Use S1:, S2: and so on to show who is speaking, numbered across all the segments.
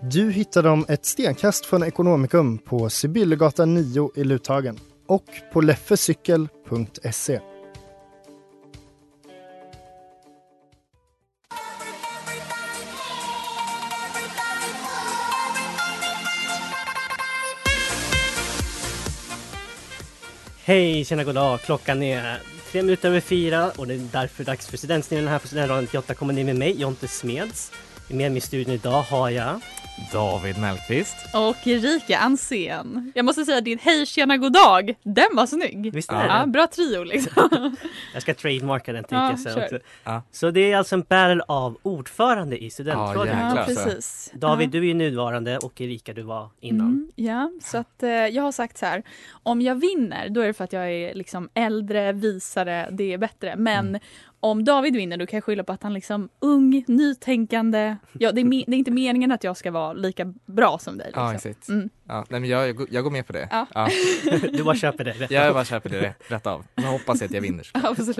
S1: Du hittar dem ett stenkast från Ekonomikum på Sibyllegatan 9 i Luthagen och på leffecykel.se.
S2: Hej, tjena, god dag. Klockan är tre minuter över fyra och det är därför dags för Studentsnillen här på Studentradion 98,9 med mig, Jonte Smeds. Med mig i studion idag har jag...
S3: David Mellqvist.
S4: Och Erika Ansén. Jag måste säga din hej tjena god dag. Den var snygg.
S2: Visst är
S4: Ja,
S2: det?
S4: bra trio liksom.
S2: Jag ska trademarka den
S4: Ja,
S2: tänker jag sen
S4: kör.
S2: också.
S3: Ja.
S2: Så det är alltså en battle av ordförande i
S3: Ja,
S2: Studentradion.
S3: jäklar.
S4: ja,
S3: alltså.
S4: precis.
S2: David, du är ju nuvarande och Erika, du var innan.
S4: Mm, ja, så att eh, jag har sagt så här. Om jag vinner, då är det för att jag är liksom äldre, visare, det är bättre. Men
S2: Mm.
S4: om David vinner, då kan jag skylla på att han liksom ung, nytänkande. Ja, det, är me- det är inte meningen att jag ska vara lika bra som dig.
S3: Ja,
S4: Liksom.
S3: exakt.
S4: Mm.
S3: Ja, nej, men jag, jag, går- jag går med på det.
S4: Ja. Mm.
S2: Du bara köper det. rätt.
S3: Jag bara köper det rätt, rätt av. Men hoppas att jag vinner.
S4: Absolut.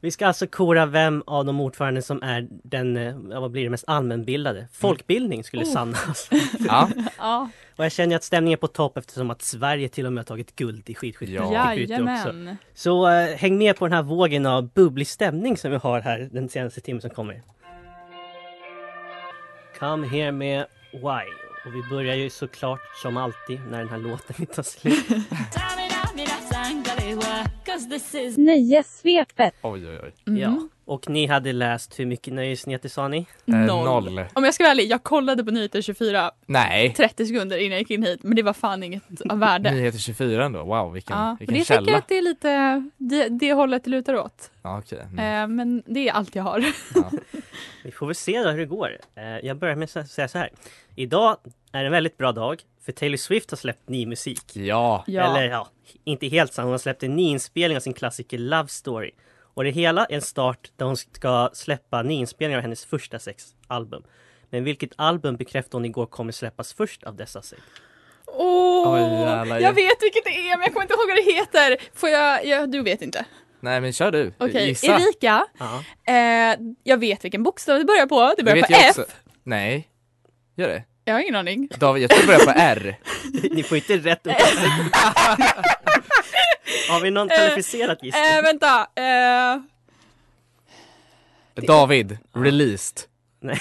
S2: Vi ska alltså kora vem av de ordförande som är den, eh, ja, vad blir det, mest allmänbildade. Folkbildning skulle
S4: Oh.
S2: sannas.
S3: Ja,
S4: Ja,
S2: Och jag känner att stämningen är på topp eftersom att Sverige till och med har tagit guld i skidskytte.
S3: Ja.
S2: Skidskytte också.
S4: jajamän.
S2: Så eh, häng med på den här vågen av bubblig stämning som vi har här den senaste timmen som kommer. Come here med Why. Och vi börjar ju såklart som alltid när den här låten tar slut.
S4: Nöjessvepet.
S3: oj oj oj.
S4: Mm.
S2: Ja. Och ni hade läst hur mycket nöjesnyheter sa ni?
S3: Eh,
S4: Mm. Noll.
S3: noll.
S4: Om jag ska vara ärlig, jag kollade på nyheter 24
S3: Nej.
S4: 30 sekunder innan jag gick in hit, men det var fan inget av värde.
S3: Nyheter 24 ändå. Wow, vilken,
S4: Ja, och
S3: vilken
S4: det tycker jag
S3: källa.
S4: att det är lite det, det hållet det lutar åt.
S3: Ja, okej. Mm.
S4: Eh, men det är allt jag har.
S2: Vi får väl se då hur det går. Eh, Jag börjar med att säga så här. Idag är en väldigt bra dag för Taylor Swift har släppt ny musik.
S3: Ja.
S2: Eller ja, inte helt sant. Hon har släppt en nyinspelning av sin klassiker Love Story. Och det hela är en start där hon ska släppa nyinspelningar av hennes första sex album. Men vilket album bekräftade hon igår kommer släppas först av dessa sex?
S4: Åh,
S3: Oj, jävlar.
S4: jag vet vilket det är men jag kommer inte ihåg vad det heter. Får jag, jag du vet inte.
S3: Nej, men kör du.
S4: Okej,
S3: Gissa.
S4: Erika.
S2: Ja.
S4: Eh, jag vet vilken bokstav det börjar på. Det
S3: Det
S4: börjar
S3: vet
S4: på
S3: jag
S4: F.
S3: också. Nej. Gör det.
S4: Jag har ingen aning.
S3: David, jag tror det börjar på R.
S2: Ni får inte rätt uppfattning. Har vi någon kvalificerad gissning?
S4: Eh, vänta. Eh,
S3: David, released.
S2: Nej,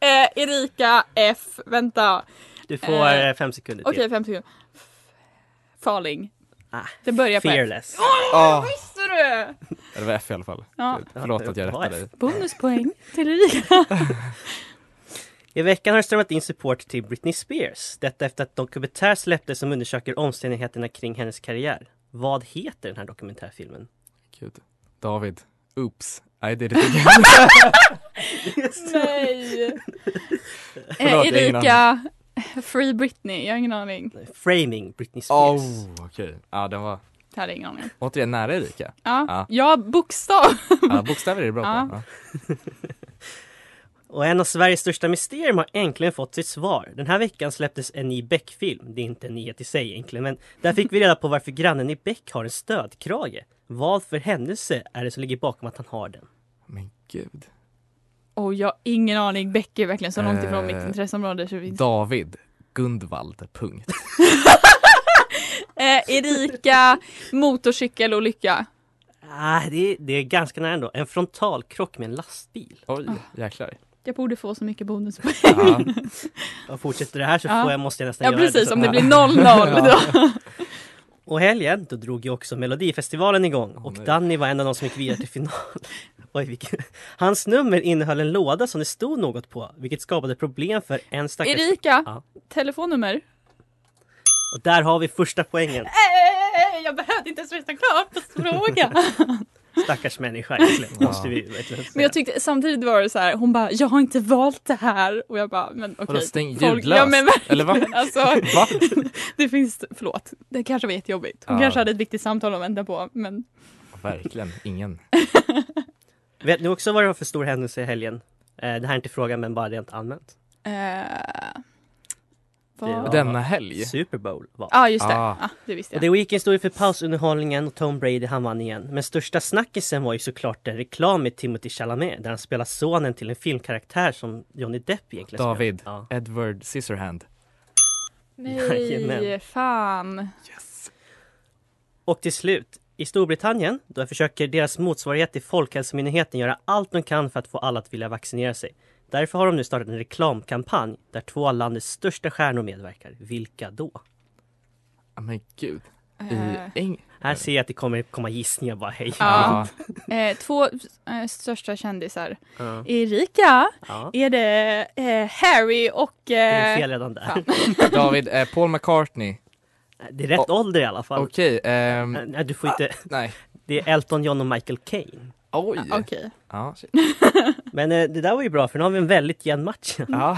S4: eh, Erika F. Vänta.
S2: du får
S4: eh,
S2: eh, fem sekunder
S4: Okej,
S2: till.
S4: fem sekunder. Falling.
S2: Ah,
S4: Det börjar på F.
S2: Fearless.
S3: Oh.
S4: Visste du?
S3: Det var F i alla fall.
S4: Ah. Ja.
S3: Förlåt att jag
S2: Vad är
S3: rättade
S2: det?
S3: dig.
S4: Bonuspoäng till Erika.
S2: I veckan har det strömmat in support till Britney Spears. Detta efter att dokumentär släpptes som undersöker omständigheterna kring hennes karriär. Vad heter den här dokumentärfilmen?
S3: Gud. David, oops, I did it again.
S4: Nej. Eh,
S3: Förlåt, jag har ingen
S4: Erika. Free Britney. Jag har ingen aning.
S2: Framing Britney Spears.
S3: Oh, okej. Ja, den var
S4: Jag hade ingen aning.
S3: återigen nära Erika.
S4: Ja,
S3: Ja.
S4: ja bokstav.
S3: Ja, bokstäver är det bra
S4: Ja.
S3: på. Ja.
S2: Och en av Sveriges största mysterium har äntligen fått sitt svar. Den här veckan släpptes en ny Beck-film. Det är inte en nyhet i sig egentligen, men där fick vi reda på varför grannen i Beck har en stödkrage. Vad för händelse är det som ligger bakom att han har den?
S3: Men gud.
S4: Och jag har ingen aning. Beck är verkligen så långt ifrån
S3: Eh,
S4: mitt intresseområde. Så vi... inte-
S3: David Gundvald, punkt.
S4: eh, Erika, motorcykelolycka.
S2: Ah, det, är, det är ganska nära ändå. En frontalkrock med en lastbil.
S3: Oj, jäklar.
S4: Jag borde få så mycket bonuspoäng.
S3: Ja.
S2: Och fortsätter det här så
S4: Ja.
S2: får jag, måste jag nästan
S4: Ja
S2: göra
S4: precis,
S2: det.
S4: om det blir 0-0 då.
S2: Och helgen, då drog ju också Melodifestivalen igång
S3: Åh,
S2: och
S3: nej.
S2: Danny var en av de som gick vidare till final. Oj, vilken... Hans nummer innehöll en låda som det stod något på, vilket skapade problem för en stackars...
S4: Erika,
S2: Ja.
S4: telefonnummer?
S2: Och där har vi första poängen.
S4: Nej, "Äh, jag behövde inte ens lyssna klart på frågan.
S2: Stackars människa egentligen, måste vi verkligen säga.
S4: Men jag tyckte samtidigt var det så här, hon bara jag har inte valt det här och jag bara men okej.
S3: Vadå, stäng
S4: folk-
S3: ljudlöst?
S4: Ja, men,
S3: Eller va?
S4: alltså,
S3: Va?
S4: det finns, förlåt, det kanske var jättejobbigt. Hon
S3: Ja.
S4: kanske hade ett viktigt samtal att vänta på men
S3: Verkligen ingen.
S2: Vet ni också vad det var för stor händelse i helgen? Eh, det här är inte frågan, men bara rent allmänt.
S4: eh, vad-
S2: Det var-
S3: Denna helg.
S2: Super Bowl var.
S4: Ja ah, just det,
S3: Ah.
S4: ah. det visste
S2: Och
S4: jag.
S2: det Weeknd stod ju för pausunderhållningen och Tom Brady han vann igen. Men största snackisen var ju såklart den reklam med Timothy Chalamet där han spelar sonen till en filmkaraktär som Johnny Depp egentligen spelar.
S3: David.
S2: Ja.
S3: Edward Scissorhand.
S4: Nej,
S2: Jajamän.
S4: fan.
S2: Och till slut, i Storbritannien, då försöker deras motsvarighet till Folkhälsomyndigheten göra allt de kan för att få alla att vilja vaccinera sig. Därför har de nu startat en reklamkampanj där två av landets största stjärnor medverkar. Vilka då?
S3: Ja, Men gud. I
S4: Eh,
S3: Eng...
S2: Här ser jag att det kommer komma gissningar bara hej.
S4: Ja. eh, två eh, största kändisar.
S2: Ja.
S4: Erika,
S2: Ja.
S4: är det eh, Harry och...
S2: Det är
S4: Eh,
S2: fel redan där.
S4: fan.
S3: Ja. David, eh, Paul McCartney.
S2: Det är rätt
S3: Och-
S2: ålder i alla fall.
S3: Okej, ehm,
S2: Nej, du får inte.
S3: nej.
S2: Det är Elton John och Michael Caine.
S3: Oj.
S4: Okej.
S3: Ja, shit.
S2: Men eh, det där var ju bra för nu har vi en väldigt jämn match.
S3: Ja.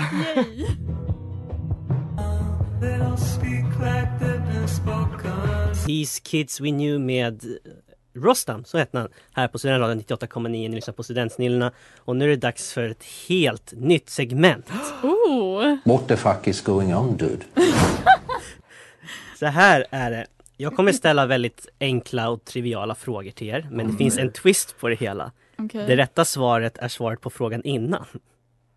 S2: These Kids We Knew med eh, Rostam, så hette han, här på Studentradion 98,9. Ni lyssnar på Studentsnillena och nu är det dags för ett helt nytt segment.
S4: Oh.
S5: What the fuck is going on, dude?
S2: Så här är det. Jag kommer ställa väldigt enkla och triviala frågor till er, men
S4: Mm.
S2: det finns en twist på det hela.
S4: Okej.
S2: Det rätta svaret är svaret på frågan innan.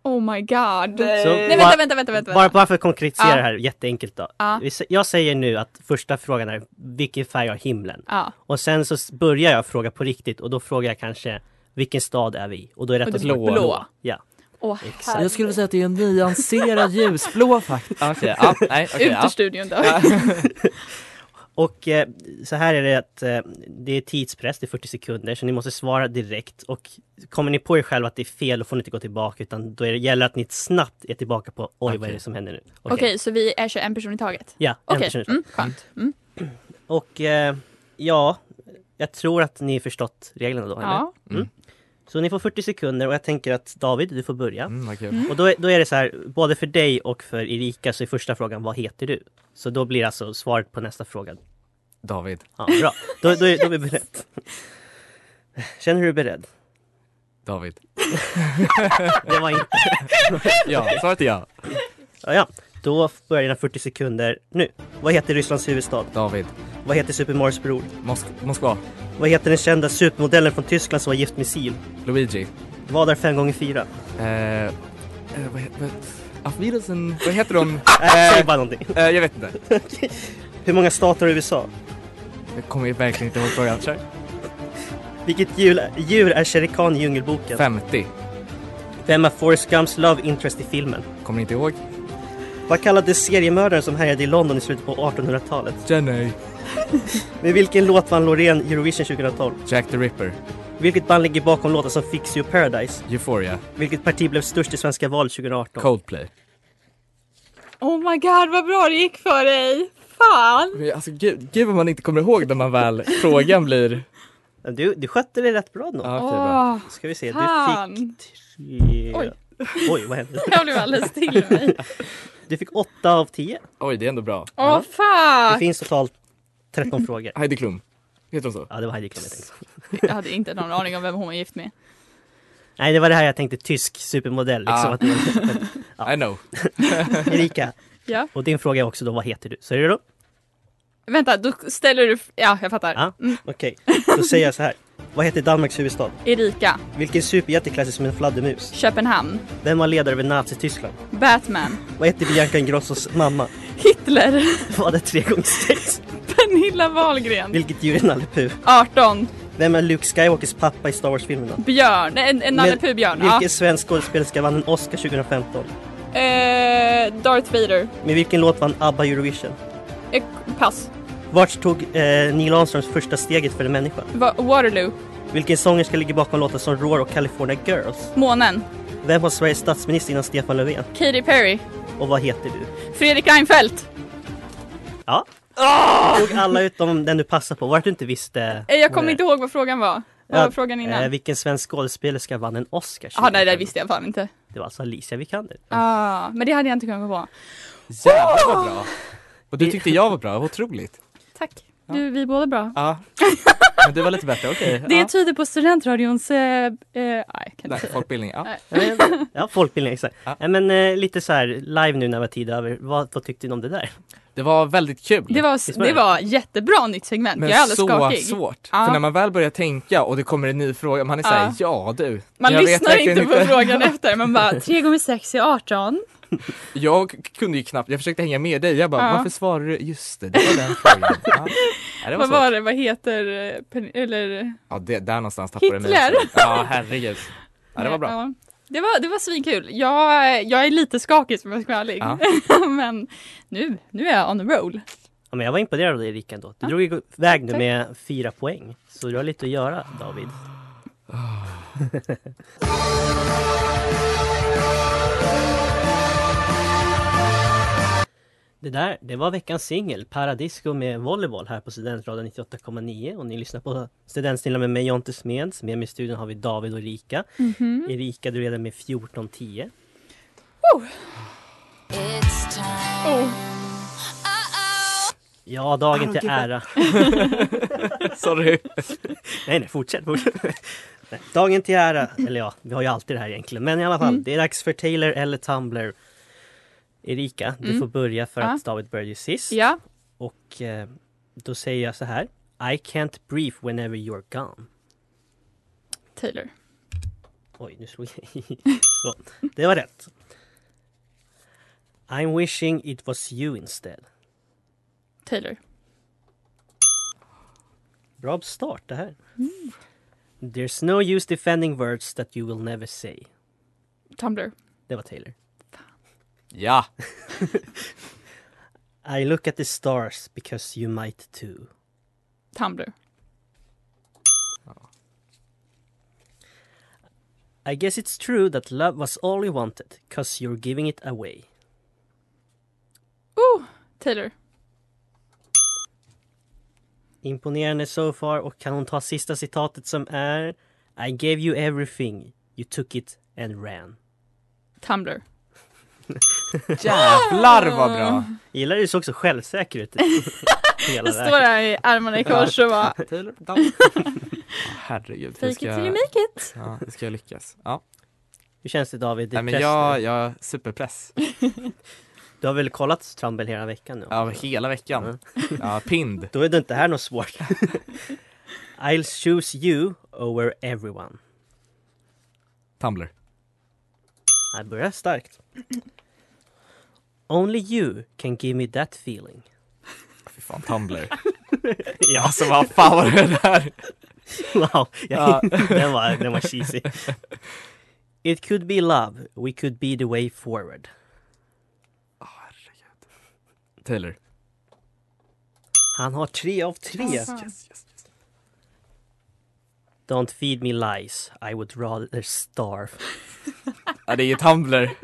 S4: Oh my god.
S2: Så
S4: Nej
S2: bara-
S4: vänta, vänta, vänta. vänta.
S2: Bara, bara för att konkretisera
S4: Ja.
S2: det här jätteenkelt då.
S4: Ja.
S2: Vi sä- Jag säger nu att första frågan är vilken färg har himlen?
S4: Ja.
S2: Och sen så s- börjar jag fråga på riktigt och då frågar jag kanske vilken stad är vi i? Och då är rätt
S4: Och
S2: att
S4: du-
S2: blå.
S4: blå.
S2: Ja.
S4: Åh,
S2: Exakt.
S3: Jag skulle säga att det är en nyanserad ljusblå faktiskt. Okej, ja, nej, okej.
S4: Ut ur
S3: ja.
S4: studion då.
S2: Och eh, så här är det att eh, det är tidspress, det är 40 sekunder, så ni måste svara direkt. Och kommer ni på er själva att det är fel, då får ni inte gå tillbaka, utan då är det, gäller att ni snabbt är tillbaka på oj, vad är
S3: Okej.
S2: det som händer nu? Okej.
S4: Okej, så vi är 21 person i taget.
S2: Ja, en
S4: Okej,
S2: person.
S4: mm, skönt. Mm.
S2: Och eh, ja, jag tror att ni har förstått reglerna då, eller?
S4: Ja.
S3: Mm.
S2: Så ni får 40 sekunder och jag tänker att David, du får börja.
S3: Mm, vad kul.
S2: Och då är, då är det så här, både för dig och för Erika så är första frågan vad heter du? Så då blir alltså svaret på nästa fråga.
S3: David,
S2: Ja, bra. Då, då, är- då är vi beredd. Känner du dig beredd?
S3: David.
S2: Det var inte...
S3: Ja, svaret är ja.
S2: Ja, ja. Då börjar dina 40 sekunder nu. Vad heter Rysslands huvudstad?
S3: David,
S2: Vad heter Supermars bror?
S3: Mosk- Moskva,
S2: Vad heter den kända supermodellen från Tyskland som var gift med Sil?
S3: Luigi.
S2: Vad är fem gånger fyra?
S3: Eh, eh, vad, he- vad, Auf Wiedersehen. vad heter hon?
S2: Äh, säg
S3: Eh,
S2: bara någonting.
S3: eh, jag vet inte.
S2: Hur många stater har USA?
S3: Jag kommer verkligen inte ihåg frågan. Kör.
S2: Vilket djur, djur är sherikan i Djungelboken?
S3: 50.
S2: Vem är Forrest Gumps love interest i filmen?
S3: Kommer inte ihåg.
S2: Vad kallades seriemördaren som härjade i London i slutet på 1800-talet?
S3: Jenny.
S2: Med vilken låt vann Loreen Eurovision 2012?
S3: Jack the Ripper.
S2: Vilket band ligger bakom låtar som Fix You Paradise?
S3: Euphoria.
S2: Vilket parti blev störst i svenska valet 2018?
S3: Coldplay.
S4: Oh my god, vad bra det gick för dig. Fan.
S3: Men Alltså gud, gud vad man inte kommer ihåg när man väl frågan blir...
S2: Du, du skötte det rätt bra då.
S3: Ja, okej, bra.
S4: Åh,
S2: Ska vi se, du
S4: fan.
S2: fick typ- tre...
S4: Oj.
S2: Oj, vad hände?
S4: Jag blev alldeles till mig.
S2: Du fick åtta av tio.
S3: Oj, det är ändå bra.
S4: Åh
S2: Det
S4: fuck.
S2: finns totalt 13 frågor.
S3: Heidi Klum. Heter hon så?
S2: Ja, det var Heidi Klum jag tänkte.
S4: Jag hade inte någon aning om vem hon var gift med.
S2: Nej, det var det här jag tänkte, tysk supermodell. Liksom,
S3: Ah.
S2: att det var... Ja.
S3: I know.
S2: Erika,
S4: Ja.
S2: och din fråga är också då, vad heter du? Så är det då?
S4: Vänta, då ställer du... Ja, jag fattar.
S2: Ja, okej. Då säger jag så här. Vad heter Danmarks huvudstad?
S4: Erika,
S2: Vilken superhjälte klär sig som en fladdermus?
S4: Köpenhamn,
S2: Vem var ledare över Nazityskland?
S4: Batman,
S2: Vad hette Bianca Ingrossos mamma?
S4: Hitler,
S2: Vad är tre gånger sex?
S4: Pernilla Wahlgren,
S2: Vilket djur är Nalle Puh?
S4: 18,
S2: Vem är Luke Skywalkers pappa i Star Wars-filmerna?
S4: Björn, en, en Nalle
S2: Men
S4: Puh-björn. Ja.
S2: Vilken svensk skådespelerska vann en Oscar 2015?
S4: Eh, Darth Vader.
S2: Med vilken låt vann ABBA Eurovision?
S4: Eh, pass.
S2: Vart tog eh, Neil Armstrongs första steget för en människa?
S4: Va- Waterloo.
S2: Vilken sångerska ligger bakom låtar som Roar och California Girls?
S4: Månen.
S2: Vem var Sveriges statsminister innan Stefan Löfven?
S4: Katy Perry.
S2: Och vad heter du?
S4: Fredrik Reinfeldt.
S2: Ja. Tog alla utom den du passar på. Vart du inte visste.
S4: Ah! Eh, jag kommer
S2: Nej.
S4: inte ihåg vad frågan var. Vad
S2: Ja,
S4: var frågan innan?
S2: Eh, vilken svensk skådespelerska vann en Oscar?
S4: ah, nej, det
S2: 2015?
S4: visste jag fan inte.
S2: Det var alltså Alicia Vikander.
S4: Ah, men det hade jag inte kunnat gå på.
S3: Jävlar vad bra! Och du tyckte jag var bra, vad otroligt.
S4: Tack. Du, vi är båda bra.
S3: Ja. Men du var lite bättre, okej.
S4: Det
S3: ja.
S4: tyder på studentradions... Eh, eh, nej, jag kan inte
S3: Nej,
S4: säga.
S3: folkbildning. Ja.
S2: Ja, folkbildning exakt.
S3: Ja.
S2: Nej, men eh, lite så här live nu när vi har tid över. Vad, vad tyckte ni om det där?
S3: Det var väldigt kul.
S4: Det
S2: Visst
S4: var,
S2: var
S4: det
S2: det?
S4: var jättebra nytt segment.
S3: men
S4: jag är alldeles
S3: så
S4: skakig.
S3: svårt.
S4: Ja.
S3: För när man väl börjar tänka och det kommer en ny fråga, man är såhär, ja du.
S4: Man
S3: jag vet
S4: lyssnar
S3: verkligen
S4: inte på frågan efter. Man bara, 3 gånger 6 är 18.
S3: Jag kunde ju knappt, jag försökte hänga med dig, jag bara
S4: Ja.
S3: varför svarar du, just det, det var den frågan. Ja. Nej, det var
S4: Vad
S3: svårt.
S4: var det? Vad heter... eh, Pen- Eller...
S3: Ja, det, där någonstans tappade du mig.
S4: Hitler.
S3: Ja, herregud. Ja, det var bra.
S4: Ja. Det var, det var svinkul. Jag, jag är lite skakig som jag ska vara ärlig.
S3: Ja.
S4: Men nu, nu är jag on the roll.
S2: Ja, men jag var imponerad av dig Erika ändå. Du
S4: Ja.
S2: drog iväg nu
S4: Tack.
S2: med fyra poäng. Så du har lite att göra David. Det där, det var veckans singel, Paradisco med Volleyball här på Studentradion 98,9 och ni lyssnar på Studentstilen med mig Jonte Smeds. Med mig i studion har vi David och Erika.
S4: Mm.
S2: Mm. Erika, du leder med 14-10.
S4: Oh, Ah,
S2: Ja, dagen till ära.
S3: Sorry.
S2: Nej, nej, fortsätt. fortsätt. nej, dagen till ära, eller ja, vi har ju alltid det här egentligen. Men i alla fall,
S4: Mm.
S2: det är dags för Taylor eller Tumblr. Erika, du får börja för
S4: Mm. Ja.
S2: att David började ju sist.
S4: ja.
S2: Och eh, då säger jag så här. I can't breathe whenever you're gone.
S4: Taylor.
S2: Oj, nu slog jag i. Så, det var rätt. I'm wishing it was you instead.
S4: Taylor.
S2: Bra start det här. There's no use defending words that you will never say.
S4: Tumblr.
S2: Det var Taylor.
S3: Ja,
S2: I look at the stars because you might too.
S4: Tumblr.
S2: I guess it's true that love was all you wanted, cause you're giving it away.
S4: Oh, Taylor.
S2: Imponerande so far och kan hon ta sista citatet som är I gave you everything, you took it and ran.
S4: Tumblr.
S3: jävlar vad bra.
S2: Gillar du så också självsäker ut? Hela
S4: Jag
S2: det
S4: står
S2: här.
S4: här i armarna i kors och bara,
S3: Taylor, ja, herregud.
S4: fake
S3: hur
S4: it
S3: ska
S4: till you
S3: jag,
S4: make it.
S3: ja, hur ska jag lyckas? Ja.
S2: Hur känns det David? Det är
S3: Nej, men
S2: press
S3: jag,
S2: nu.
S3: jag superpress.
S2: Du har väl kollat Trumble hela veckan nu?
S3: Ja, hela veckan.
S2: Mm.
S3: Ja, pind.
S2: Då är det inte här något svårt. I'll choose you over everyone.
S3: Tumblr.
S2: Det börjar starkt. Only you can give me that feeling.
S3: Fy fan, Tumblr.
S2: Ja.
S3: Alltså vad fan var det där?
S2: Wow,
S3: Ja.
S2: ja. den, var, den var cheesy. It could be love, we could be the way forward.
S3: Taylor.
S2: Han har tre av tre.
S4: Alltså,
S2: Don't feed me lies, I would rather starve.
S3: Ja, det är ju Tumblr.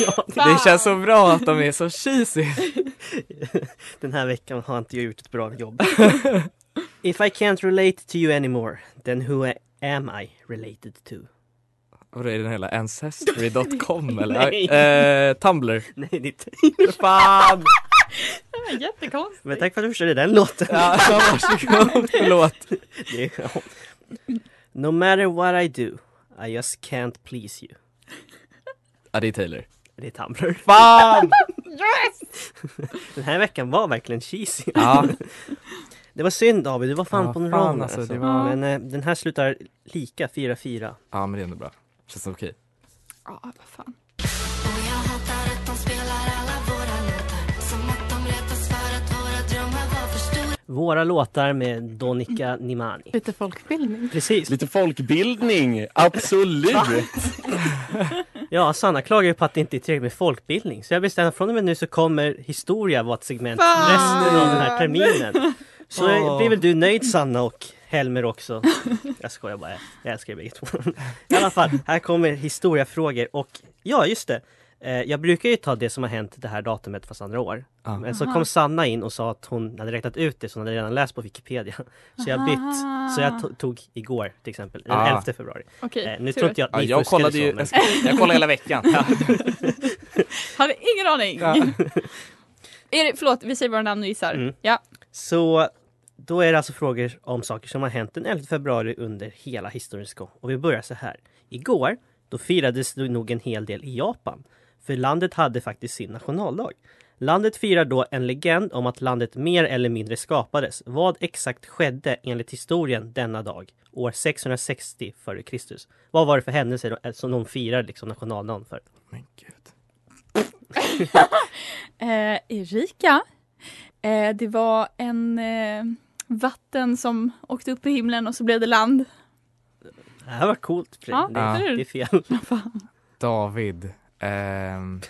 S2: ja,
S3: Det känns så bra att de är så cheesy.
S2: den här veckan har inte jag gjort ett bra jobb. If I can't relate to you anymore, then who I- am I related to?
S3: Vadå, är den hela ancestry.com eller?
S2: Nej.
S3: Eh, Tumblr.
S2: Nej, det är inte...
S3: Fan!
S4: Det var jättekonstigt.
S2: Men tack för att du förstörde den låten.
S3: Ja, Alltså, varsågod, förlåt.
S2: Det- ja. No matter what I do, I just can't please you.
S3: Ja, det är Taylor.
S2: Det är Tumblr.
S3: Fan!
S2: Den här veckan var verkligen cheesy.
S3: Ja,
S2: Det var synd David, du var fan
S3: Ja,
S2: på en
S3: fan,
S2: roll
S3: alltså,
S2: alltså.
S3: det var-
S2: Men eh, den här slutar lika, 4-4.
S3: ja men det är ändå bra. Känns okej.
S4: Ja, vad fan.
S2: Våra låtar med Donika Nimani.
S6: Lite folkbildning.
S2: Precis.
S7: Lite folkbildning, absolut!
S2: Ja, Sanna klagar ju på att det inte är tillräckligt med folkbildning. Så jag bestämde att från och med nu så kommer historia vara ett segment
S6: Fan!
S2: resten av den här terminen. Så
S6: Åh.
S2: blir väl du nöjd Sanna och Helmer också. Jag skojar bara, jag älskar er bägge två. I alla fall, här kommer historiafrågor och ja, just det. Eh, Jag brukar ju ta det som har hänt det här datumet fast andra år.
S3: Ja.
S2: Men så
S4: Aha.
S2: kom Sanna in och sa att hon hade räknat ut det så hon hade redan läst på Wikipedia. Så jag bytt. Så jag to- tog igår till exempel, den
S3: Ah.
S2: 11 februari.
S4: Okej,
S2: Eh, nu
S4: tur.
S2: tror inte jag att
S3: Ja,
S2: ni
S3: jag
S2: fuskade
S3: kollade
S2: så,
S3: ju-
S2: men-
S3: jag ska- jag kollade hela veckan.
S2: Ja.
S4: Hade ingen aning.
S3: Ja.
S4: Är det, förlåt, vi säger våra namn och gissar.
S2: Mm.
S4: Ja.
S2: Så då är det alltså frågor om saker som har hänt den 11 februari under hela historiens gång. Och vi börjar så här. Igår, då firades det nog en hel del i Japan. För landet hade faktiskt sin nationaldag. Landet firar då en legend om att landet mer eller mindre skapades. Vad exakt skedde enligt historien denna dag, år 660 före Kristus? Vad var det för händelse då, eh, som de firar liksom nationaldagen för?
S3: Men gud.
S4: Eh, Erika. Eh, det var en eh, vatten som åkte upp i himlen och så blev det land.
S2: Det här var coolt. Frej.
S4: Ja,
S2: det,
S4: tur.
S2: det är fel.
S3: David. ehm,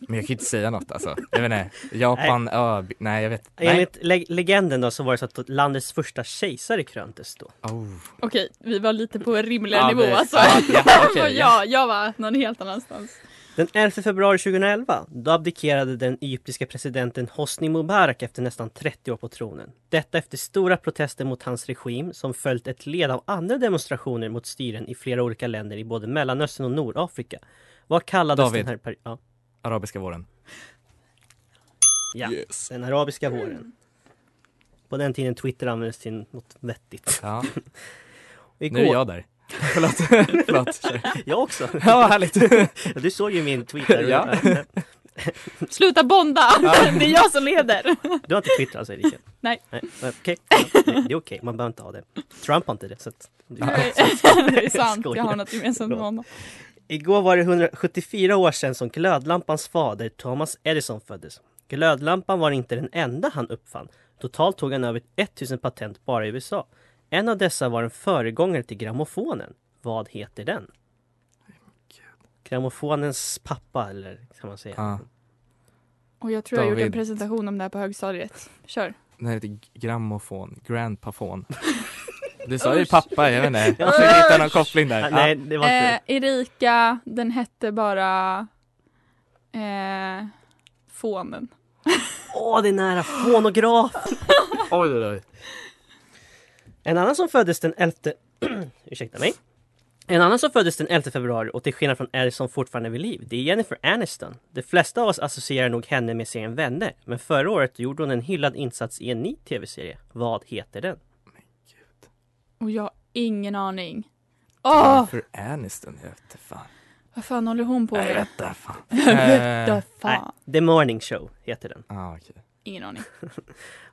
S3: men jag kan ju inte säga något alltså. Jag vet inte. Japan, nej. Ö, nej jag vet. Nej.
S2: Enligt le- legenden då så var det så att landets första kejsare kröntes då.
S3: Oh.
S4: Okej, vi var lite på en rimligare
S3: Ja,
S4: nivå
S3: men-
S4: alltså.
S3: ja, ja, okej,
S4: ja.
S3: ja.
S4: jag var någon helt annanstans.
S2: Den 11 februari 2011, då abdikerade den egyptiska presidenten Hosni Mubarak efter nästan 30 år på tronen. Detta efter stora protester mot hans regim som följt ett led av andra demonstrationer mot styren i flera olika länder i både Mellanöstern och Nordafrika. Vad kallades
S3: David.
S2: den här perioden? Ja,
S3: Arabiska våren.
S2: ja.
S3: Yes.
S2: den arabiska våren. På den tiden Twitter användes till något vettigt.
S3: Ja,
S2: Och Igår,
S3: nu är jag där. Förlåt. Förlåt.
S2: Jag också!
S3: Ja, vad härligt.
S2: Du såg ju min tweet där.
S3: Ja.
S4: Sluta bonda! det är jag som leder.
S2: Du har inte Twitter alltså Erika?
S4: Nej.
S2: Nej, men Okej, Ja, nej, det är okej, man behöver inte ha det. Trump har inte det. Så att...
S4: Nej, det är sant, jag har något gemensamt med honom.
S2: Igår var det 174 år sedan som glödlampans fader Thomas Edison föddes. Glödlampan var inte den enda han uppfann. Totalt tog han över 1000 patent bara i USA. En av dessa var en föregångare till grammofonen. Vad heter den? Grammofonens pappa eller kan man säga.
S3: Ja.
S4: Och jag tror jag gjorde en
S3: David.
S4: presentation om det här på högstadiet. Kör.
S3: Den heter grammofon. Grandpafon. Du sa ju pappa, jag vet inte. Jag
S4: Usch.
S3: försöker hitta någon koppling
S2: Ah,
S3: där.
S2: nej, det var inte
S4: Eh, Erika, den hette bara eh, Fånen.
S2: Åh, det är nära! Fonograf!
S3: Oj, oj, oj.
S2: En annan som föddes den 11... ursäkta mig. En annan som föddes den 11 februari och till skillnad från Edison fortfarande vid liv, det är Jennifer Aniston. De flesta av oss associerar nog henne med serien Vänner, men förra året gjorde hon en hyllad insats i en ny tv-serie. Vad heter den?
S4: Och jag har ingen aning. Åh,
S3: Jennifer Aniston, jag vet inte fan.
S4: vad fan håller hon på
S3: Jag
S4: med?
S3: vet inte fan.
S4: Vänta,
S3: Eh,
S4: fan.
S2: The Morning Show heter den.
S3: ah, okej.
S4: Ingen aning.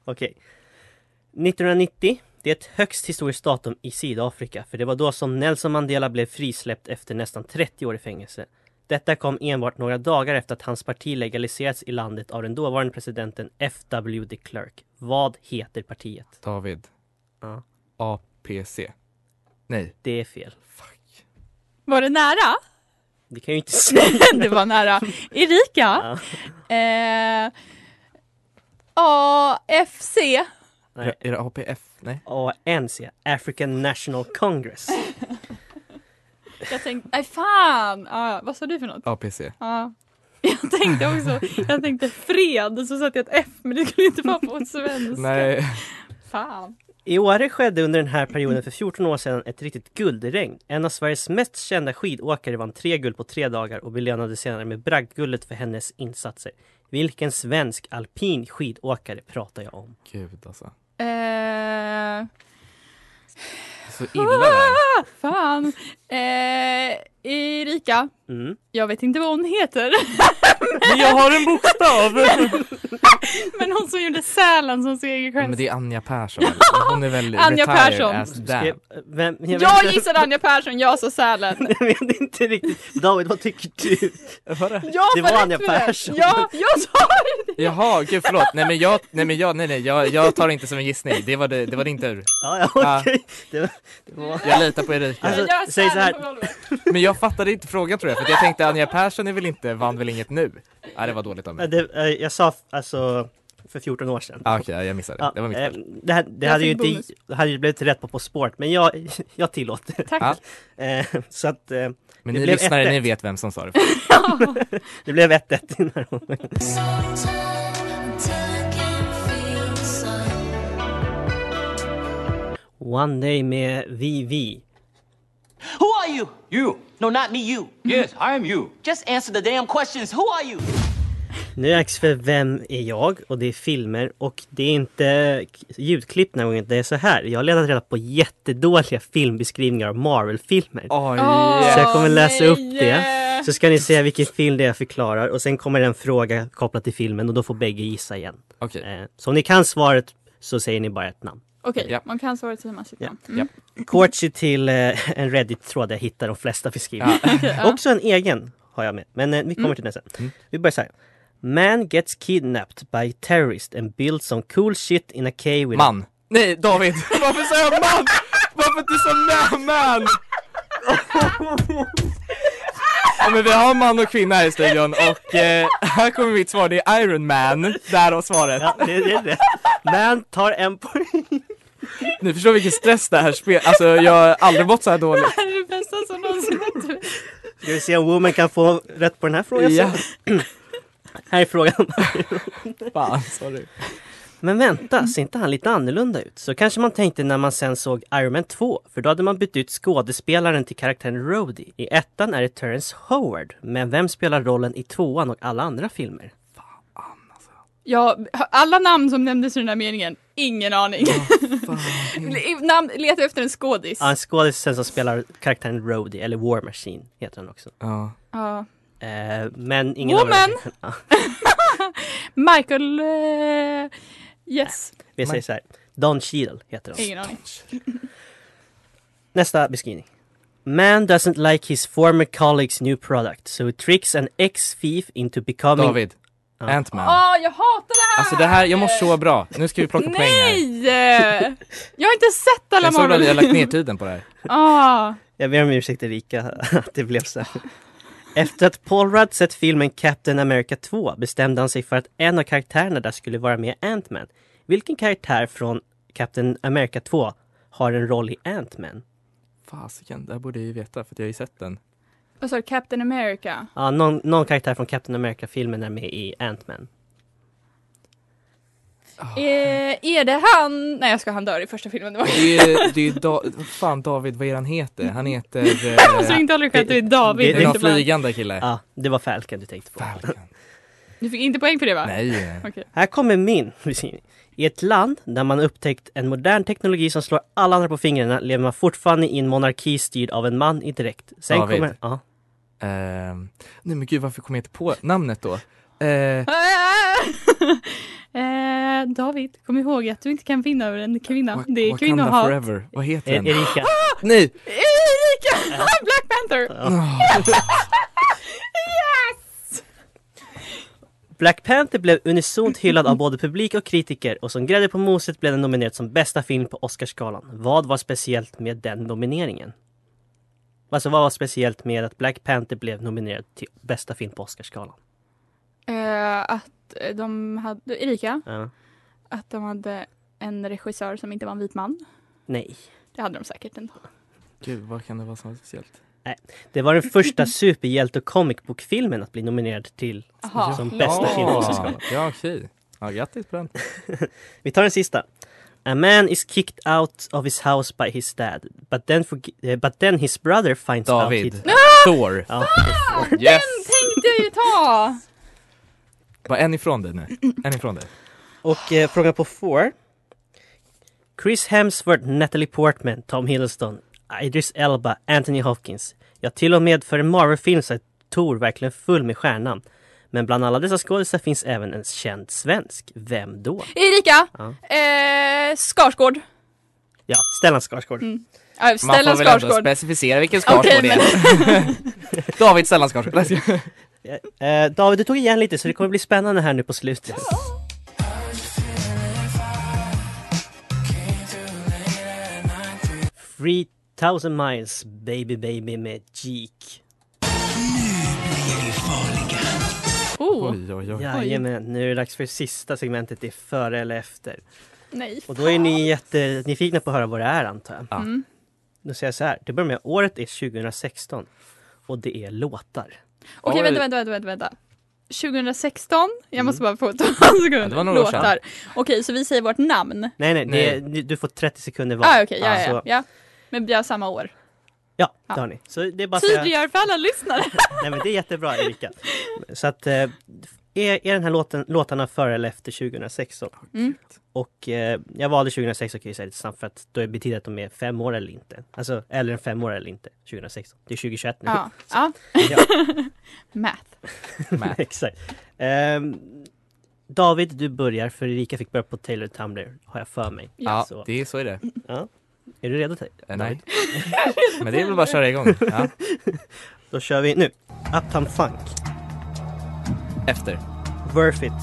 S2: Okej. 1990, det är ett högst historiskt datum i Sydafrika för det var då som Nelson Mandela blev frisläppt efter nästan 30 år i fängelse. Detta kom enbart några dagar efter att hans parti legaliserats i landet av den dåvarande presidenten F.W. de Klerk. Vad heter partiet?
S3: David.
S2: Ja.
S3: APC. Nej.
S2: Det är fel.
S3: Fuck.
S4: Var det nära?
S2: Det kan jag ju inte säga.
S4: det var nära. Erika? Eh, AFC?
S2: Nej.
S3: Är det APF? Nej.
S2: ANC, African National Congress.
S4: Jag tänkte, nej fan! Ah, vad sa du för något?
S3: APC.
S4: Ja. Jag tänkte också, jag tänkte fred, så satte jag ett F men det skulle inte vara på svenska.
S3: Nej.
S4: Fan.
S2: I Åre skedde under den här perioden för 14 år sedan ett riktigt guldregn. En av Sveriges mest kända skidåkare vann tre guld på tre dagar och belönades senare med bragdguldet för hennes insatser. Vilken svensk alpin skidåkare pratar jag om?
S3: Gud alltså.
S4: Eh, ah,
S3: Det är Så illa där.
S4: fan. Eh, Erika,
S2: Mm.
S4: jag vet inte vad hon heter,
S3: Men jag har en bokstav!
S4: men hon som gjorde Sälen som seger
S3: Ja, men
S4: själv.
S3: det är Anja Persson. eller? Hon är väl
S4: Anja
S3: retired
S4: Persson.
S3: as
S2: Ska
S3: damn.
S2: jag- Vem? Jag,
S4: Jag
S2: vet,
S4: gissade Anja Persson, jag sa Sälen.
S2: jag vet inte riktigt. David, vad tycker du?
S3: Var det?
S4: Jag
S2: Det var
S4: rätt
S2: Anja
S4: för det.
S2: Persson.
S4: Ja, jag sa ju det.
S3: Jaha, gud förlåt. Nej men jag, nej men jag, nej nej, jag, jag tar det inte som en gissning. Det var, det, det var din tur.
S2: Ja, ja okej.
S3: Jag litar på Erika.
S2: Alltså, säg så här.
S3: Men jag fattade inte frågan tror jag, för att jag tänkte Anja Persson är väl inte, vann väl inget nu? Nej det var dåligt av mig.
S2: Men det, eh, jag sa f- alltså för 14 år sedan.
S3: Ah, Okej, jag missade.
S2: Ja,
S3: det. Det var mitt
S2: eh,
S3: fel.
S2: det, här, det
S4: Jag
S2: hade ju
S4: fick bonus.
S2: inte, det hade ju blivit rätt på På spåret, men jag, jag tillåter.
S4: Tack.
S2: Eh, Så att eh,
S3: Men
S2: det
S3: ni
S2: blev
S3: lyssnare,
S2: ett-
S3: ni vet vem som sa det.
S2: det blev 1-1 i den här omgången. One Day med VV.
S6: Who are you? You. No, not me, you. Yes, I am you. Just answer the damn questions. Who are you?
S2: Nu är det dags för Vem är jag? Och det är filmer och det är inte k- ljudklipp den här gången. Det är så här. Jag har letat reda på jättedåliga filmbeskrivningar av Marvel-filmer.
S3: Oj,
S2: Så jag kommer läsa upp det. Så ska ni se vilken film det är jag förklarar och sen kommer en fråga kopplat till filmen och då får bägge gissa igen.
S3: Okej.
S2: Eh, Så om ni kan svaret så säger ni bara ett namn.
S4: Okej,
S3: Ja.
S4: man kan svara till hur man sitter.
S2: Ja.
S4: Mm.
S2: Kort sig till eh, en Reddit-tråd där jag hittar de flesta beskrivningar. Också en egen har jag med, men eh, vi kommer till den sen. Vi börjar så här. Man gets kidnapped by terrorist and builds some cool shit in a cave with
S3: Man. Nej, David. Varför sa jag man? Varför inte sa man? man? Ja, men vi har man och kvinna här i studion och eh, här kommer mitt svar, det är Iron Man, därav svaret.
S2: Ja, det, det är rätt. Man tar en poäng.
S3: Ni förstår vilken stress det här spelet, alltså jag har aldrig mått så här dåligt.
S4: Det är det bästa som någonsin har hänt.
S2: Ska vi se om Woman kan få rätt på den här frågan sen?
S3: Ja,
S2: Här är frågan.
S3: fan sorry.
S2: Men vänta, ser inte han lite annorlunda ut? Så kanske man tänkte när man sen såg Iron Man 2, för då hade man bytt ut skådespelaren till karaktären Rhodey. I ettan är det Terrence Howard, men vem spelar rollen i tvåan och alla andra filmer?
S3: alltså.
S4: Ja, alla namn som nämndes i den här meningen, ingen aning. namn, leta efter en skådis.
S2: Ja, en skådis sen som spelar karaktären Rhodey, eller War Machine heter han också.
S3: Ja.
S4: Ja.
S2: Eh, men ingen
S4: Woman!
S2: Av dem- ja,
S4: Michael... eh, yes,
S2: vi säger så här. Don Cheadle heter han.
S4: ingen aning.
S2: Nästa beskrivning. Man doesn't like his former colleagues new product, so he tricks an ex-thief into becoming...
S3: David, Ant-Man.
S4: Åh, jag hatar det här!
S3: Alltså det här, jag mår så bra. Nu ska vi plocka poäng här.
S4: Nej! Jag har inte sett alla
S3: Jag såg att jag
S4: Marvel.
S3: lagt ner tiden på det här.
S4: Ah,
S2: Jag ber om ursäkt Erika att det blev så. här. Efter att Paul Rudd sett filmen Captain America 2 bestämde han sig för att en av karaktärerna där skulle vara med i Ant-Man. Vilken karaktär från Captain America 2 har en roll i Ant-Man?
S3: Fasiken, det här borde jag ju veta för att jag har ju sett den.
S4: vad sa du? Captain America?
S2: Ja, någon, någon karaktär från Captain America-filmen är med i Ant-Man.
S4: Eh, är det han... Nej jag ska han dör i första filmen. Det var...
S3: Det är ju, det är ju da- vad fan David, vad är han heter? Han heter... Eh,
S4: Jag ringde aldrig att det är
S2: det-
S4: David.
S3: det är
S4: och
S3: någon
S4: inte Blanche.
S3: flygande kille.
S2: Ja, det var Falcon du tänkte på.
S3: Falcon.
S4: Du fick inte poäng för det va?
S3: Nej.
S4: Okej.
S2: Här kommer min beskrivning. I ett land där man upptäckt en modern teknologi som slår alla andra på fingrarna lever man fortfarande i en monarki styrd av en man i direkt. Sen
S3: David.
S2: kommer... Ja.
S3: Ehm, nej men gud varför kom jag inte på namnet då? Eh,
S4: eh, David, kom ihåg att du inte kan vinna över en kvinna.
S3: Wa-
S4: Det är
S3: Wakanda
S4: kvinnohat.
S3: Forever, vad heter
S2: E-
S3: den?
S2: Erika.
S3: Nej!
S4: Erika! Ah, Black Panther!
S3: Ah,
S2: Black Panther blev unisont hyllad av både publik och kritiker och som grädde på moset blev den nominerad som bästa film på Oscarsgalan. Vad var speciellt med den nomineringen? Alltså vad var speciellt med att Black Panther blev nominerad till bästa film på Oscarsgalan?
S4: Eh, att eh, de hade... Erika?
S2: Ja.
S4: Att de hade en regissör som inte var en vit man.
S2: nej.
S4: Det hade de säkert ändå.
S3: Gud vad kan det vara som speciellt?
S2: Det var den första superhjälte och comic book-filmen att bli nominerad till
S4: Aha.
S2: som bästa film på Oscarsgalan.
S3: Ah. Ja okej. Ja grattis på den.
S2: Vi tar den sista. A man is kicked out of his house by his dad, but then, forg- eh, but then his brother finds out
S3: David.
S2: he-
S4: Ah!
S3: Thor.
S2: Ja.
S3: Yes!
S4: Tänkte jag ju ta!
S3: Bara en ifrån dig nu. En ifrån dig.
S2: Och eh, fråga på four. Chris Hemsworth, Natalie Portman, Tom Hiddleston, Idris Elba, Anthony Hopkins. Ja, till och med för en Marvel-film så är Thor verkligen full med stjärnnamn. Men bland alla dessa skådisar finns även en känd svensk. Vem då?
S4: Erika!
S2: Ja.
S4: Eh, Skarsgård.
S2: Ja, Stellan Skarsgård.
S4: Ja,
S3: Man får
S4: Stellan
S3: väl ändå
S4: Skarsgård.
S3: specificera vilken Skarsgård det är. David Stellan Skarsgård.
S2: Eh, David, du tog igen lite så det kommer bli spännande här nu på slutet. Free thousand miles, baby baby med Geek.
S4: Oh.
S3: Oj, oj, oj.
S2: Jajamän, nu är det dags för sista segmentet, det är före eller efter.
S4: Nej.
S2: Och då är ni jättenyfikna på att höra vad det är antar jag.
S3: Ja.
S4: Mm.
S2: Då säger jag så här, det börjar med året är 2016 och det är låtar.
S4: Okej,
S3: Oj.
S4: vänta, vänta, vänta, vänta, vänta. 2016, jag måste bara få ta en sekund.
S3: Mm. Ja, det var några år sedan.
S4: Låtar. Okej, så vi säger vårt namn.
S2: Nej, nej,
S3: Nej.
S2: Det, du får 30 sekunder var.
S4: Ah, okej, ja, ja,
S2: Så-
S4: ja, ja. Men vi har samma år.
S2: Ja, det
S4: Ja.
S2: har ni. Så det är bara att säga-
S4: Tydliggör för alla lyssnare.
S2: Nej men det är jättebra Erika. Så att, eh, är, är den här låten, låtarna före eller efter 2016?
S4: Mm.
S2: Och eh, jag valde 2016 kan jag säga lite snabbt för att då betyder det att de är fem år eller inte. Alltså, eller en fem år eller inte, 2016. Det är 2021 nu.
S4: Ja. ja.
S2: Ja.
S4: Math. Mm.
S3: Matt.
S2: Exakt. Ehm, David, du börjar för Erika fick börja på Taylor Tumblr, har jag för mig.
S3: Ja,
S2: Så,
S3: det är så är det.
S2: Är du redo? Ta- David?
S3: Eh, nej. Men det är väl bara att köra igång. Ja.
S2: Då kör vi nu. Uptown Funk,
S3: Efter.
S2: Worth It,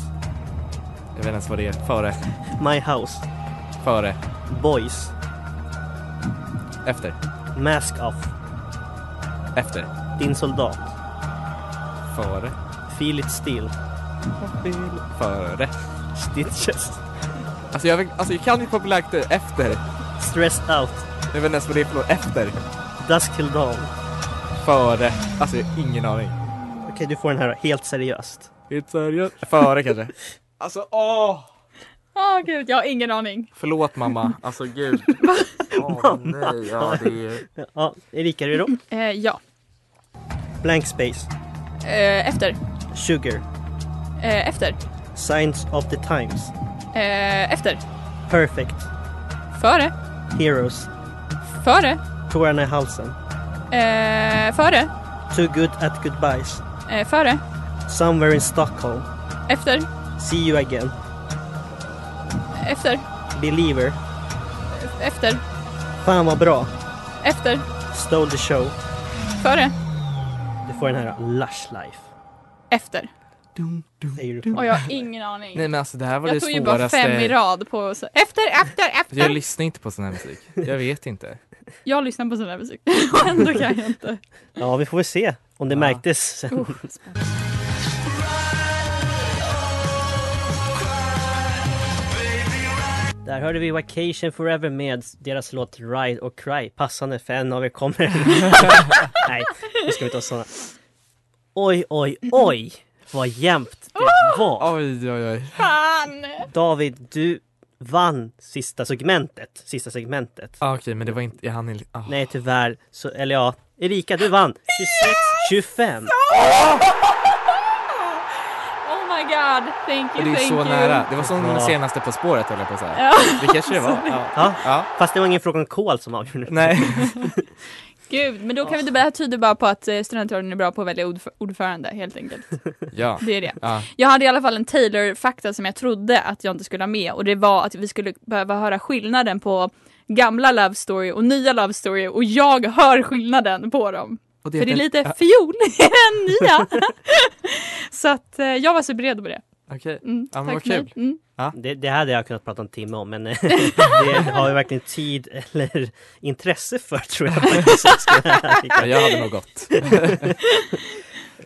S3: Jag vet inte ens vad det är. Före.
S2: My House,
S3: Före.
S2: Boys,
S3: Efter.
S2: Mask Off,
S3: Efter.
S2: Din Soldat,
S3: Före.
S2: Feel It Still,
S3: Före.
S2: Stitches,
S3: Alltså jag, vet- alltså jag kan ju populärt eh, efter.
S2: Stressed Out,
S3: Jag vet inte ens vad det är för något. Efter.
S2: Dusk Till Dawn.
S3: Före. Alltså jag har ingen aning.
S2: Okej, du får den här då, helt seriöst.
S3: Helt seriöst. Före kanske. Alltså åh!
S4: Åh gud, jag har ingen aning.
S3: Förlåt mamma. Alltså gud. Åh nej. Ja, det är...
S2: Ja, Erika, är du redo?
S4: Eh, ja.
S2: Blank Space,
S4: Eh, efter.
S2: Sugar,
S4: Eh, efter.
S2: Signs of the Times,
S4: Eh, efter.
S2: Perfect,
S4: Före.
S2: Heroes,
S4: Före.
S2: Tårarna i halsen,
S4: Eh, före.
S2: Too Good At Goodbyes,
S4: Eh, före.
S2: Somewhere in Stockholm,
S4: Efter.
S2: See You Again,
S4: Efter.
S2: Believer,
S4: Efter.
S2: Fan vad bra,
S4: Efter.
S2: Stole the Show.
S4: Före.
S2: Du får den här då, Lush Life.
S4: Efter.
S2: Det är ju du.
S4: Och jag har ingen aning.
S3: Nej men alltså det här var det
S4: jag tog ju bara
S3: svåraste.
S4: fem i rad på... Så, efter, efter,
S3: Jag
S4: efter!
S3: lyssnar inte på sån här musik. Jag vet inte.
S4: Jag lyssnar på sån här musik. Och ändå kan jag inte.
S2: Ja, vi får väl se om det
S3: Ja.
S2: märktes sen.
S4: Oh, spännande.
S2: Där hörde vi Vacation Forever med deras låt Ride och Cry. Passande för en av er kommer. Nej, nu ska vi inte ha sådana. Oj, oj, oj! Vad jämnt det var!
S3: Oj oj oj.
S4: Fan!
S2: David, du vann sista segmentet. Sista segmentet.
S3: Ah, Okej men det var inte, jag hann inte. Ah.
S2: Nej, tyvärr. Så, eller ja, Erika, du vann 26, 25.
S4: Oh my god! Thank
S3: Och
S4: you,
S3: det är
S4: thank you.
S3: så nära. Det var som
S2: Ja.
S3: det senaste På spåret höll jag på att säga.
S4: Ja.
S3: Det kanske det var. Ja.
S2: Ja,
S3: Ja.
S2: fast det var ingen frågan kol som avgjorde.
S3: Nej.
S4: Gud, men då kan vi, det här tyder bara på att eh, studentradion är bra på att välja ordf- ordförande helt enkelt.
S3: Ja.
S4: Det är det.
S3: Ja.
S4: Jag hade i alla fall en Taylor-fakta som jag trodde att jag inte skulle ha med och det var att vi skulle behöva höra skillnaden på gamla Love Story och nya Love Story och jag hör skillnaden på dem.
S3: Och
S4: För det är
S3: heter-
S4: lite
S3: Ja,
S4: fiol i den nya. Så att eh, jag var så beredd på det.
S3: Okej.
S4: Mm,
S3: Ja,
S4: tack
S3: men vad
S4: för mig.
S3: kul.
S4: Mm.
S2: Det, det hade jag kunnat prata en timme om men eh, det har jag verkligen tid eller intresse för tror jag faktiskt. Ska jag vara ärlig.
S3: Ja, jag hade nog gått.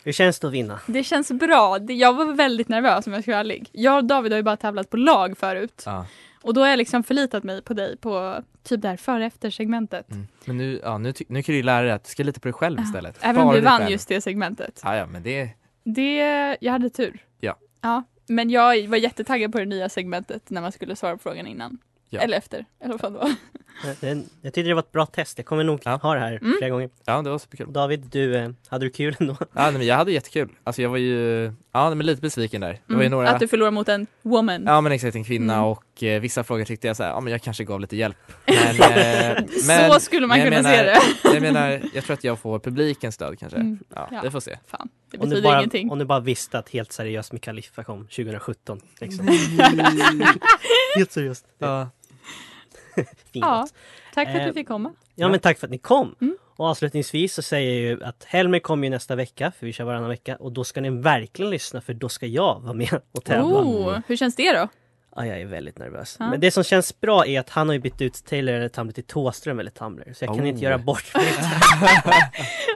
S2: Hur känns det att vinna?
S4: Det känns bra. Det- Jag var väldigt nervös om jag ska vara ärlig. Jag och David har ju bara tävlat på lag förut
S3: Ja.
S4: och då har jag liksom förlitat mig på dig på typ det här före efter segmentet.
S3: Mm. Men nu, ja, nu, ty- nu kan du ju lära dig att du ska lita på dig själv istället.
S4: Även om
S3: Bara
S4: du
S3: dig
S4: vann
S3: själv.
S4: just det segmentet.
S3: Ja, ja, men det,
S4: Det, jag hade tur.
S3: Ja.
S4: Ja, men jag var jättetaggad på det nya segmentet när man skulle svara på frågan innan.
S3: Ja.
S4: Eller efter, eller vad fan det var.
S2: Eh, det- Jag tyckte det var ett bra test. Jag kommer nog
S3: Ja.
S2: ha det här
S4: Mm.
S2: flera gånger.
S3: ja, det var superkul.
S2: David, du, eh, hade du kul ändå?
S3: Ja, nej, men jag hade jättekul. Alltså jag var ju, ja, men lite besviken där. Det var ju
S4: Mm,
S3: några,
S4: Att du förlorar mot en woman.
S3: ja men exakt en kvinna
S4: Mm.
S3: och eh, vissa frågor tyckte jag så här, ja men jag kanske gav lite hjälp. Men, eh, men
S4: Så skulle man
S3: men jag
S4: kunna se
S3: menar-
S4: det.
S3: jag menar, jag tror att jag får publikens stöd kanske.
S4: Mm.
S3: Ja,
S4: Ja.
S3: vi får se.
S4: Fan, det
S2: Om du,
S4: betyder
S2: bara,
S4: ingenting.
S2: om du bara visste att helt seriöst med Khalifa kom 2017. Liksom.
S4: Mm.
S2: helt seriöst. Det är
S3: Ja.
S2: fint.
S4: Ja, tack för att
S2: Eh,
S4: du fick komma.
S2: Ja men tack för att ni kom!
S4: Mm.
S2: Och avslutningsvis så säger jag ju att Helmer kommer ju nästa vecka, för vi kör varannan vecka. Och då ska ni verkligen lyssna, för då ska jag vara med och tävla.
S4: Oh, hur känns det då?
S2: Ja, jag är väldigt nervös.
S4: Ja.
S2: Men det som känns bra är att han har ju bytt ut Taylor Tamler till Thåström eller Tamler. Så jag kan
S4: Oh.
S2: inte göra bort mitt.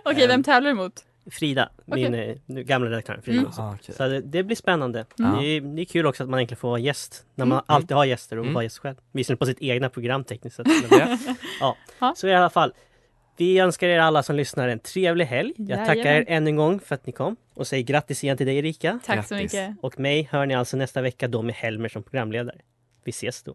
S4: Okej,
S3: Ehm,
S4: vem tävlar emot?
S2: Frida, min eh, nu, gamla redaktör Frida.
S4: Mm.
S2: Olsson. Så det, det blir spännande.
S4: Mm.
S2: Det, är, det är kul också att man egentligen får vara gäst. När
S4: Mm.
S2: man alltid har gäster och
S4: Mm.
S2: vara gäst själv. Visserligen på sitt egna program tekniskt sett. men- ja. Så i alla fall. Vi önskar er alla som lyssnar en trevlig helg. Jag tackar er
S4: Jajamän.
S2: ännu en gång för att ni kom. Och säger grattis igen till dig Erika.
S4: Tack så Grattis. mycket.
S2: Och mig hör ni alltså nästa vecka då med Helmer som programledare. Vi ses då.